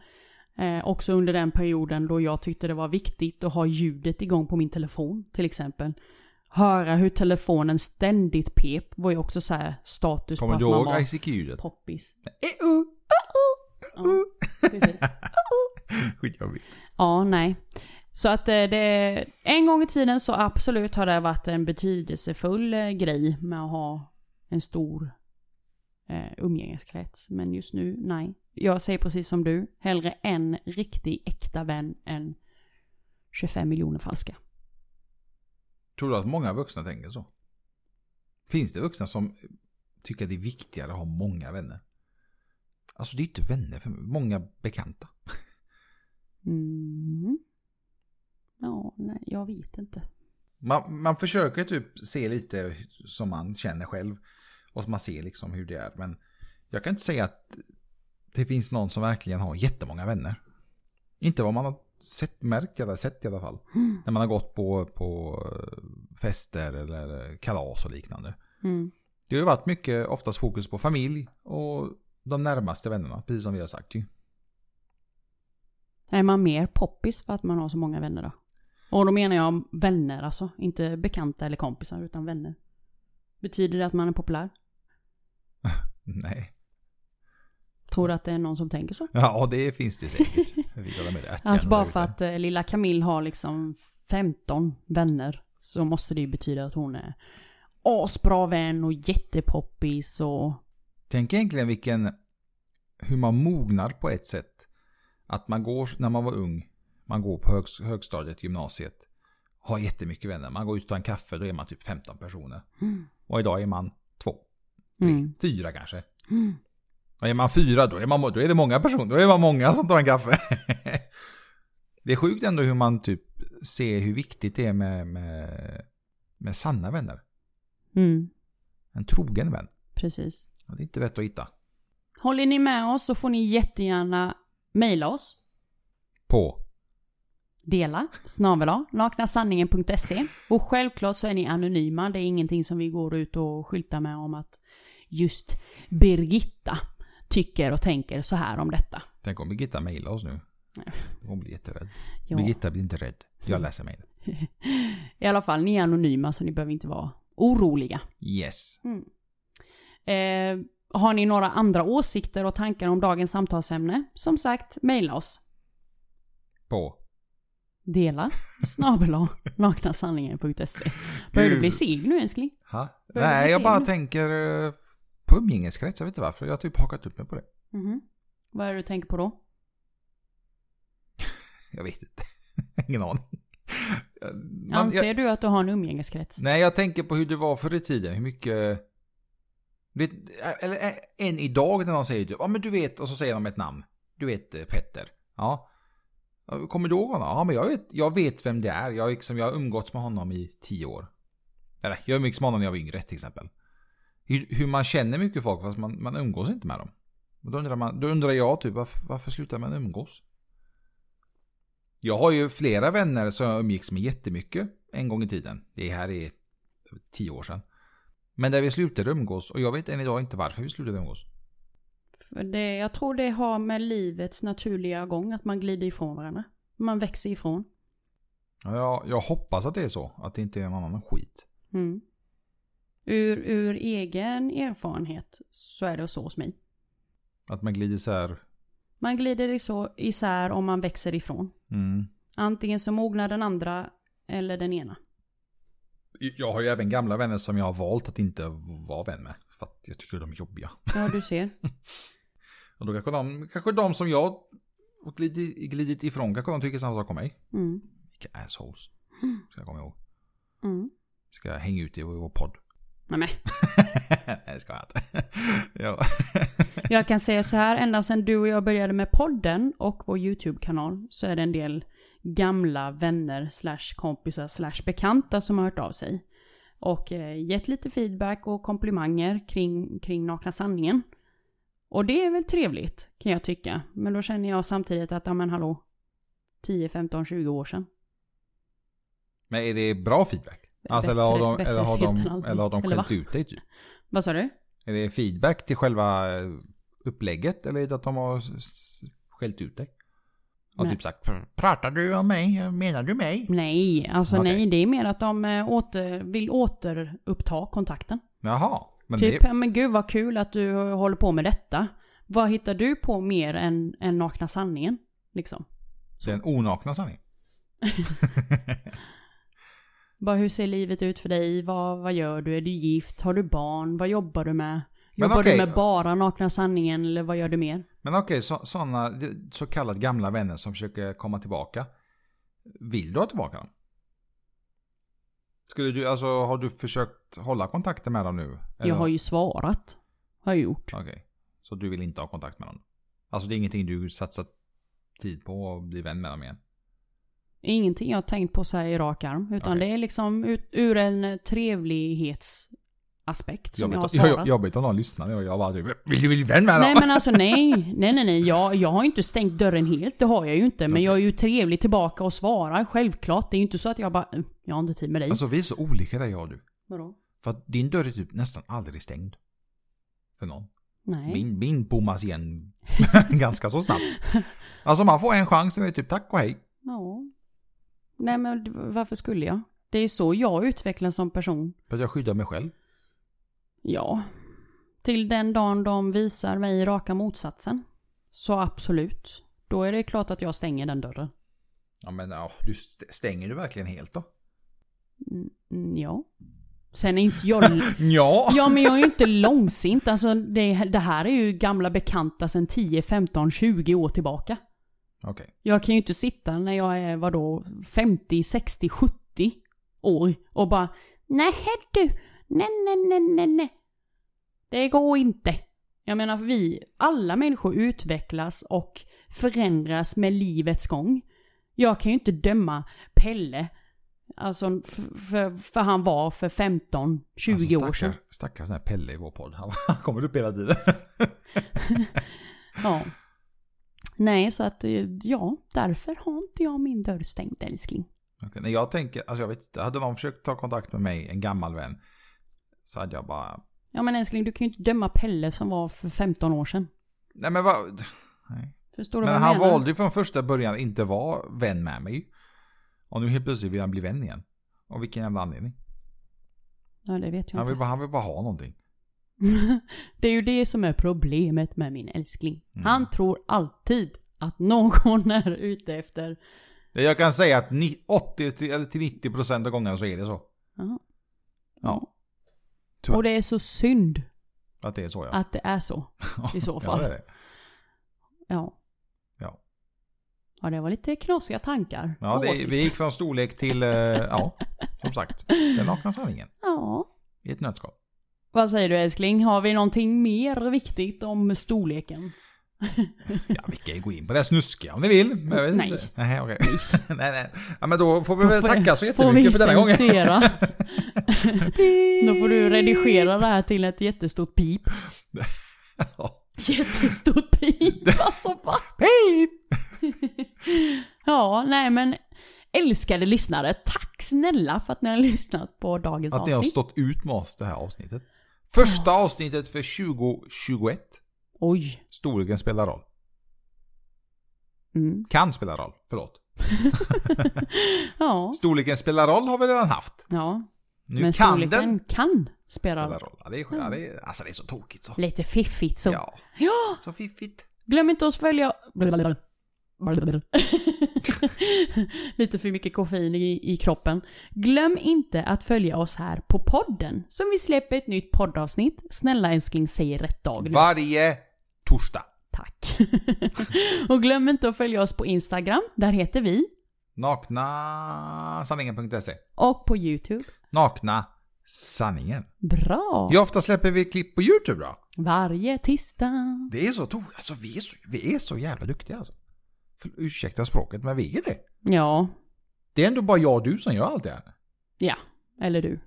S2: Eh, också under den perioden då jag tyckte det var viktigt att ha ljudet igång på min telefon till exempel. Höra hur telefonen ständigt pep var ju också så här status
S1: Kommer
S2: på
S1: du
S2: att man
S1: ihåg
S2: var
S1: ICQ-ljudet?
S2: poppis.
S1: Eh, oh,
S2: Ja, precis.
S1: Skitjobbigt.
S2: Ja, nej. Så att eh, det, en gång i tiden så absolut har det varit en betydelsefull eh, grej med att ha en stor eh, umgängeskrets. Men just nu, nej. Jag säger precis som du, hellre en riktig äkta vän än 25 miljoner falska.
S1: Tror du att många vuxna tänker så? Finns det vuxna som tycker att det är viktigare att ha många vänner? Alltså det är inte vänner, för många bekanta.
S2: Mm. Ja, nej, jag vet inte.
S1: Man, man försöker typ se lite som man känner själv. Och så man ser liksom hur det är. Men jag kan inte säga att det finns någon som verkligen har jättemånga vänner. Inte vad man har sett, märkt eller sett i alla fall.
S2: Mm.
S1: När man har gått på, på eh, fester eller kalas och liknande.
S2: Mm.
S1: Det har ju varit mycket, oftast fokus på familj och de närmaste vännerna. Precis som vi har sagt ju.
S2: Är man mer poppis för att man har så många vänner då? Och då menar jag vänner alltså, inte bekanta eller kompisar utan vänner. Betyder det att man är populär?
S1: Nej.
S2: Tror du att det är någon som tänker så?
S1: Ja, det finns det säkert. Jag vill hålla med dig.
S2: Att bara för att eh, lilla Camille har liksom 15 vänner så måste det ju betyda att hon är asbra vän och jättepoppis och...
S1: Tänk egentligen vilken, hur man mognar på ett sätt. Att man går, när man var ung, man går på högs, högstadiet, gymnasiet, har jättemycket vänner. Man går ut och tar en kaffe, då är man typ 15 personer. Och idag är man två,
S2: Mm.
S1: fyra kanske. Och är man fyra, då är, man, då är det många personer, då är man många som tar en kaffe. det är sjukt ändå hur man typ ser hur viktigt det är med, med, med sanna vänner.
S2: Mm.
S1: En trogen vän.
S2: Precis.
S1: Ja, Det är inte lätt att hitta.
S2: Håller ni med oss så får ni jättegärna mejla oss.
S1: På.
S2: Dela snabel naknasanningen.se Och självklart så är ni anonyma. Det är ingenting som vi går ut och skyltar med om att just Birgitta tycker och tänker så här om detta.
S1: Tänk om Birgitta mejlar oss nu. Hon blir jätterädd.
S2: Ja. Mm.
S1: Birgitta blir inte rädd. Jag läser mejlet.
S2: I alla fall, ni är anonyma så ni behöver inte vara oroliga.
S1: Yes.
S2: Eh, har ni några andra åsikter och tankar om dagens samtalsämne? Som sagt, mejla oss.
S1: På.
S2: Dela snabel naknasanningen.se Börjar du bli
S1: Gud.
S2: seg nu älskling?
S1: Ha?
S2: Börjar du
S1: Nej,
S2: bli
S1: jag bara
S2: sen?
S1: tänker eh, på umgängeskrets. Jag vet inte varför. Jag har typ hakat upp mig på det.
S2: Mhm. Vad är det du tänker på då?
S1: Jag vet inte. Ingen aning. Man-
S2: Anser
S1: jag,
S2: du att du har en umgängeskrets?
S1: nej, jag tänker på hur det var förr i tiden. Hur mycket... Vet, eller eh, än idag när någon säger typ, ja men du vet, och så säger de ett namn. Du vet eh, Petter. Ja. Ja, Kommer du ihåg honom? Ja men jag vet, jag vet vem det är. Jag, har liksom, jag har umgåtts med honom i tio år. Eller jag umgicks med honom när jag var yngre till exempel. Hur, hur man känner mycket folk fast man, man umgås inte med dem. Och Då undrar, man, då undrar jag typ varför, varför slutar man umgås? Jag har ju flera vänner som jag umgicks med jättemycket en gång i tiden. Det här är tio år sedan. Men där vi slutade umgås och jag vet än idag inte varför vi slutade umgås.
S2: För Det, jag tror det har med livets naturliga gång att man glider ifrån varandra. Man växer ifrån.
S1: Ja, Jag, jag hoppas att det är så, att det inte är någon annan skit.
S2: Mm. Ur, ur egen erfarenhet så är det så hos mig.
S1: Att man glider så här.
S2: Man glider iso- isär om man växer ifrån.
S1: Mm.
S2: Antingen så mognar den andra eller den ena.
S1: Jag har ju även gamla vänner som jag har valt att inte vara vän med. För att jag tycker de är jobbiga.
S2: Ja, du ser.
S1: Och då kanske de, kanske de som jag glidit, glidit ifrån, kanske de tycker samma sak om mig.
S2: Mm.
S1: Vilka assholes. Ska jag komma ihåg.
S2: Mm.
S1: Ska jag hänga ut i vår vår podd.
S2: Nej, men.
S1: Nej, det ska jag inte. ja.
S2: Jag kan säga så här, ända sedan du och jag började med podden och vår YouTube-kanal så är det en del gamla vänner slash kompisar slash bekanta som har hört av sig. Och eh, gett lite feedback och komplimanger kring, kring Nakna Sanningen. Och det är väl trevligt kan jag tycka. Men då känner jag samtidigt att, ja men hallå, 10, 15, 20 år sedan.
S1: Men är det bra feedback? Alltså, eller har
S2: Bättre-
S1: de,
S2: bättre
S1: eller har
S2: sent än
S1: de,
S2: aldrig.
S1: eller har de
S2: Eller va?
S1: skällt ut dig typ?
S2: Vad sa du?
S1: Är det feedback till själva eh, upplägget eller är det att de har s- s- skällt ut dig? Och
S2: Nej.
S1: typ sagt "Pr- Pratar du om mig? Menar du mig?
S2: Nej, alltså
S1: Okej.
S2: nej, det är mer att de eh, åter, vill återuppta kontakten.
S1: Jaha. Men
S2: Typ,
S1: det,
S2: men gud vad kul att du håller på med detta. Vad hittar du på mer än, än nakna sanningen? Liksom.
S1: det är en onakna sanning.
S2: Bara hur ser livet ut för dig? Vad, vad gör du? Är du gift? Har du barn? Vad jobbar du med?
S1: Men
S2: Jobbar
S1: okej.
S2: du med bara nakna sanningen eller vad gör du mer?
S1: Men okej, så, sådana det- så kallat gamla vänner som försöker komma tillbaka. Vill du ha tillbaka dem? Skulle du, alltså har du försökt hålla kontakten med dem nu? Eller-
S2: Jag har ju svarat. Har jag gjort.
S1: Okej. Så du vill inte ha kontakt med dem? Alltså det är ingenting du satsar tid på och bli vän med dem igen?
S2: Ingenting jag har tänkt på så här i rak arm. Utan
S1: Okej.
S2: det är liksom ut, ur en trevlighetsaspekt som jag har
S1: Jobbigt-
S2: svarat.
S1: jo- Jobbigt om någon lyssnar och jag bara du, vill du bli vän med
S2: Nej
S1: dem?
S2: men alltså nej, nej nej nej. Jag, jag har inte stängt dörren helt, det har jag ju inte. Men jag är ju trevlig tillbaka och svarar, självklart. Det är ju inte så att jag bara, "Mm, jag har inte tid med dig.
S1: Alltså vi är så olika där jag och du.
S2: Vadå?
S1: För att din dörr är typ nästan aldrig stängd. För någon.
S2: Nej.
S1: Min, min bommas igen ganska så snabbt. Alltså man får en chans, sen är det typ tack och hej.
S2: Ja. Nej men d- varför skulle jag? Det är så jag utvecklas som person.
S1: För att jag skyddar mig själv.
S2: Ja. Till den dagen de visar mig raka motsatsen. Så absolut. Då är det klart att jag stänger den dörren.
S1: Ja men ja, du st- stänger du verkligen helt då?
S2: Mm, Mm, ja. Sen är inte jag...
S1: Ja.
S2: Ja men jag är ju inte långsint. Alltså, det, det här är ju gamla bekanta sedan 10, 15, 20 år tillbaka.
S1: Okej.
S2: Jag kan ju inte sitta när jag är vadå 50, 60, 70 år och bara nej du, nej nej nej nej nej. Det går inte. Jag menar vi, alla människor utvecklas och förändras med livets gång. Jag kan ju inte döma Pelle Alltså, för, för, för han var för 15-20 år sedan.
S1: Alltså, stackars, Stackars den här Pelle i vår podd. Han han kommer upp hela tiden.
S2: Ja. Nej, så att eh, ja, därför har inte jag min dörr stängd älskling.
S1: Okej, när jag tänker, alltså jag vet inte, hade någon försökt ta kontakt med mig, en gammal vän, så hade jag bara,
S2: Ja men älskling, du kan ju inte döma Pelle som var för 15 år sedan.
S1: nej men vad, nej.
S2: Förstår du
S1: Men
S2: vad jag
S1: han
S2: menar?
S1: valde ju från första början att inte vara vän med mig. Och nu helt plötsligt vill han bli vän igen. Av vilken jävla anledning.
S2: Ja, det vet jag
S1: Han vill
S2: inte.
S1: bara, han vill bara ha någonting.
S2: det är ju det som är problemet med min älskling.
S1: Mm.
S2: Han tror alltid att någon är ute efter...
S1: Jag kan säga att ni- 80 till- eller till 90 procent av gångerna så är det så.
S2: Ja.
S1: Ja. Tyvärr.
S2: Och det är så synd
S1: Att det är så ja.
S2: att det är så. i så fall.
S1: Ja, det är det.
S2: Ja.
S1: Ja.
S2: Ja, det var lite knasiga tankar.
S1: ja det,
S2: Åsikter.
S1: vi gick från storlek till, eh, ja, som sagt. Den nakna sanningen.
S2: Ja.
S1: I ett nötskal.
S2: Vad säger du älskling? Har vi någonting mer viktigt om storleken?
S1: Ja, vi kan ju gå in på det snuskiga om ni vill. Men jag vet
S2: Nej.
S1: inte. Nej, okej. nej, nej. Ja, men då får vi väl
S2: Får-
S1: tacka så
S2: Får vi
S1: jättemycket för denna gången.
S2: censura? Då får du redigera det här till ett jättestort pip.
S1: Ja.
S2: Jättestort pip, alltså va?
S1: Hej!
S2: Ja, nej men älskade lyssnare, tack snälla för att ni har lyssnat på dagens
S1: Att ni har
S2: avsnitt.
S1: stått ut med oss det här avsnittet. Första avsnittet för 2021.
S2: Oj.
S1: Storleken spelar roll.
S2: Mm.
S1: Kan spela roll, förlåt.
S2: Ja,
S1: Storleken spelar roll har vi redan haft.
S2: ja.
S1: Nu
S2: men
S1: kan
S2: storleken
S1: den
S2: kan spela
S1: spela
S2: roll.
S1: roll. Ja, det är, skönt. ja, det är, alltså det är så tokigt så.
S2: Lite fiffigt så.
S1: Ja,
S2: ja.
S1: så fiffigt.
S2: Glöm inte att följa... Lite för mycket koffein i, i kroppen. Glöm inte att följa oss här på podden som vi släpper ett nytt poddavsnitt. Snälla älskling, säg rätt dag nu.
S1: Varje torsdag.
S2: Tack. Och glöm inte att följa oss på Instagram, där heter vi.
S1: Nakna sanningen.se.
S2: Och på YouTube.
S1: Nakna sanningen.
S2: Bra!
S1: Hur ofta släpper vi klipp på YouTube då?
S2: Varje tisdag.
S1: Det är så tokigt. Alltså vi är så, vi är så jävla duktiga alltså. För, ursäkta språket, men vi är det.
S2: Ja,
S1: Det är ändå bara jag och du som gör allt det här.
S2: ja. Eller du.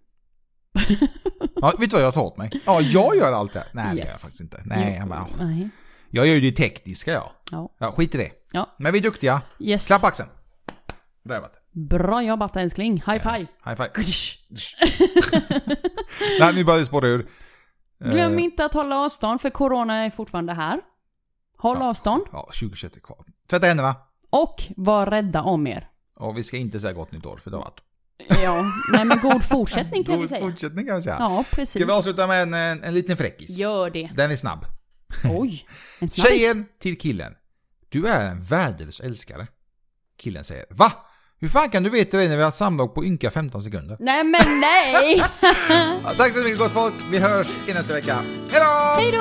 S1: Ja, vet du vad jag tar åt mig? Ja, jag gör allt det här. Nej, det
S2: Yes.
S1: gör jag faktiskt inte. Nej,
S2: Jo,
S1: jag, bara, ja.
S2: Nej.
S1: jag gör ju det tekniska jag.
S2: Ja.
S1: Ja, skit i det.
S2: Ja.
S1: Men vi är duktiga.
S2: Yes.
S1: Klapp axeln. Där var det.
S2: Bra jobbat älskling. High five.
S1: High five. Nej, nu börjar det spåra ur. Eh,
S2: Glöm inte att hålla avstånd för corona är fortfarande här. Håll
S1: Ja.
S2: avstånd
S1: Ja, 2021 är kvar. Tvätta händerna.
S2: och var rädda om er.
S1: Och vi ska inte säga gott nytt år, för det har varit...
S2: Ja, nej men god fortsättning kan vi
S1: God
S2: säga.
S1: fortsättning kan vi säga.
S2: Ja, precis.
S1: Ska vi avsluta med en, en, en liten fräckis?
S2: Gör det.
S1: Den är snabb.
S2: Oj, en snabbis.
S1: Tjejen till killen. Du är en värdelös älskare. Killen säger Va? Hur fan kan du veta det när vi har samlag på ynka 15 sekunder?
S2: Nej men nej!
S1: Ja, tack så mycket gott folk. Vi hörs i nästa vecka. Hejdå!
S2: Hej då!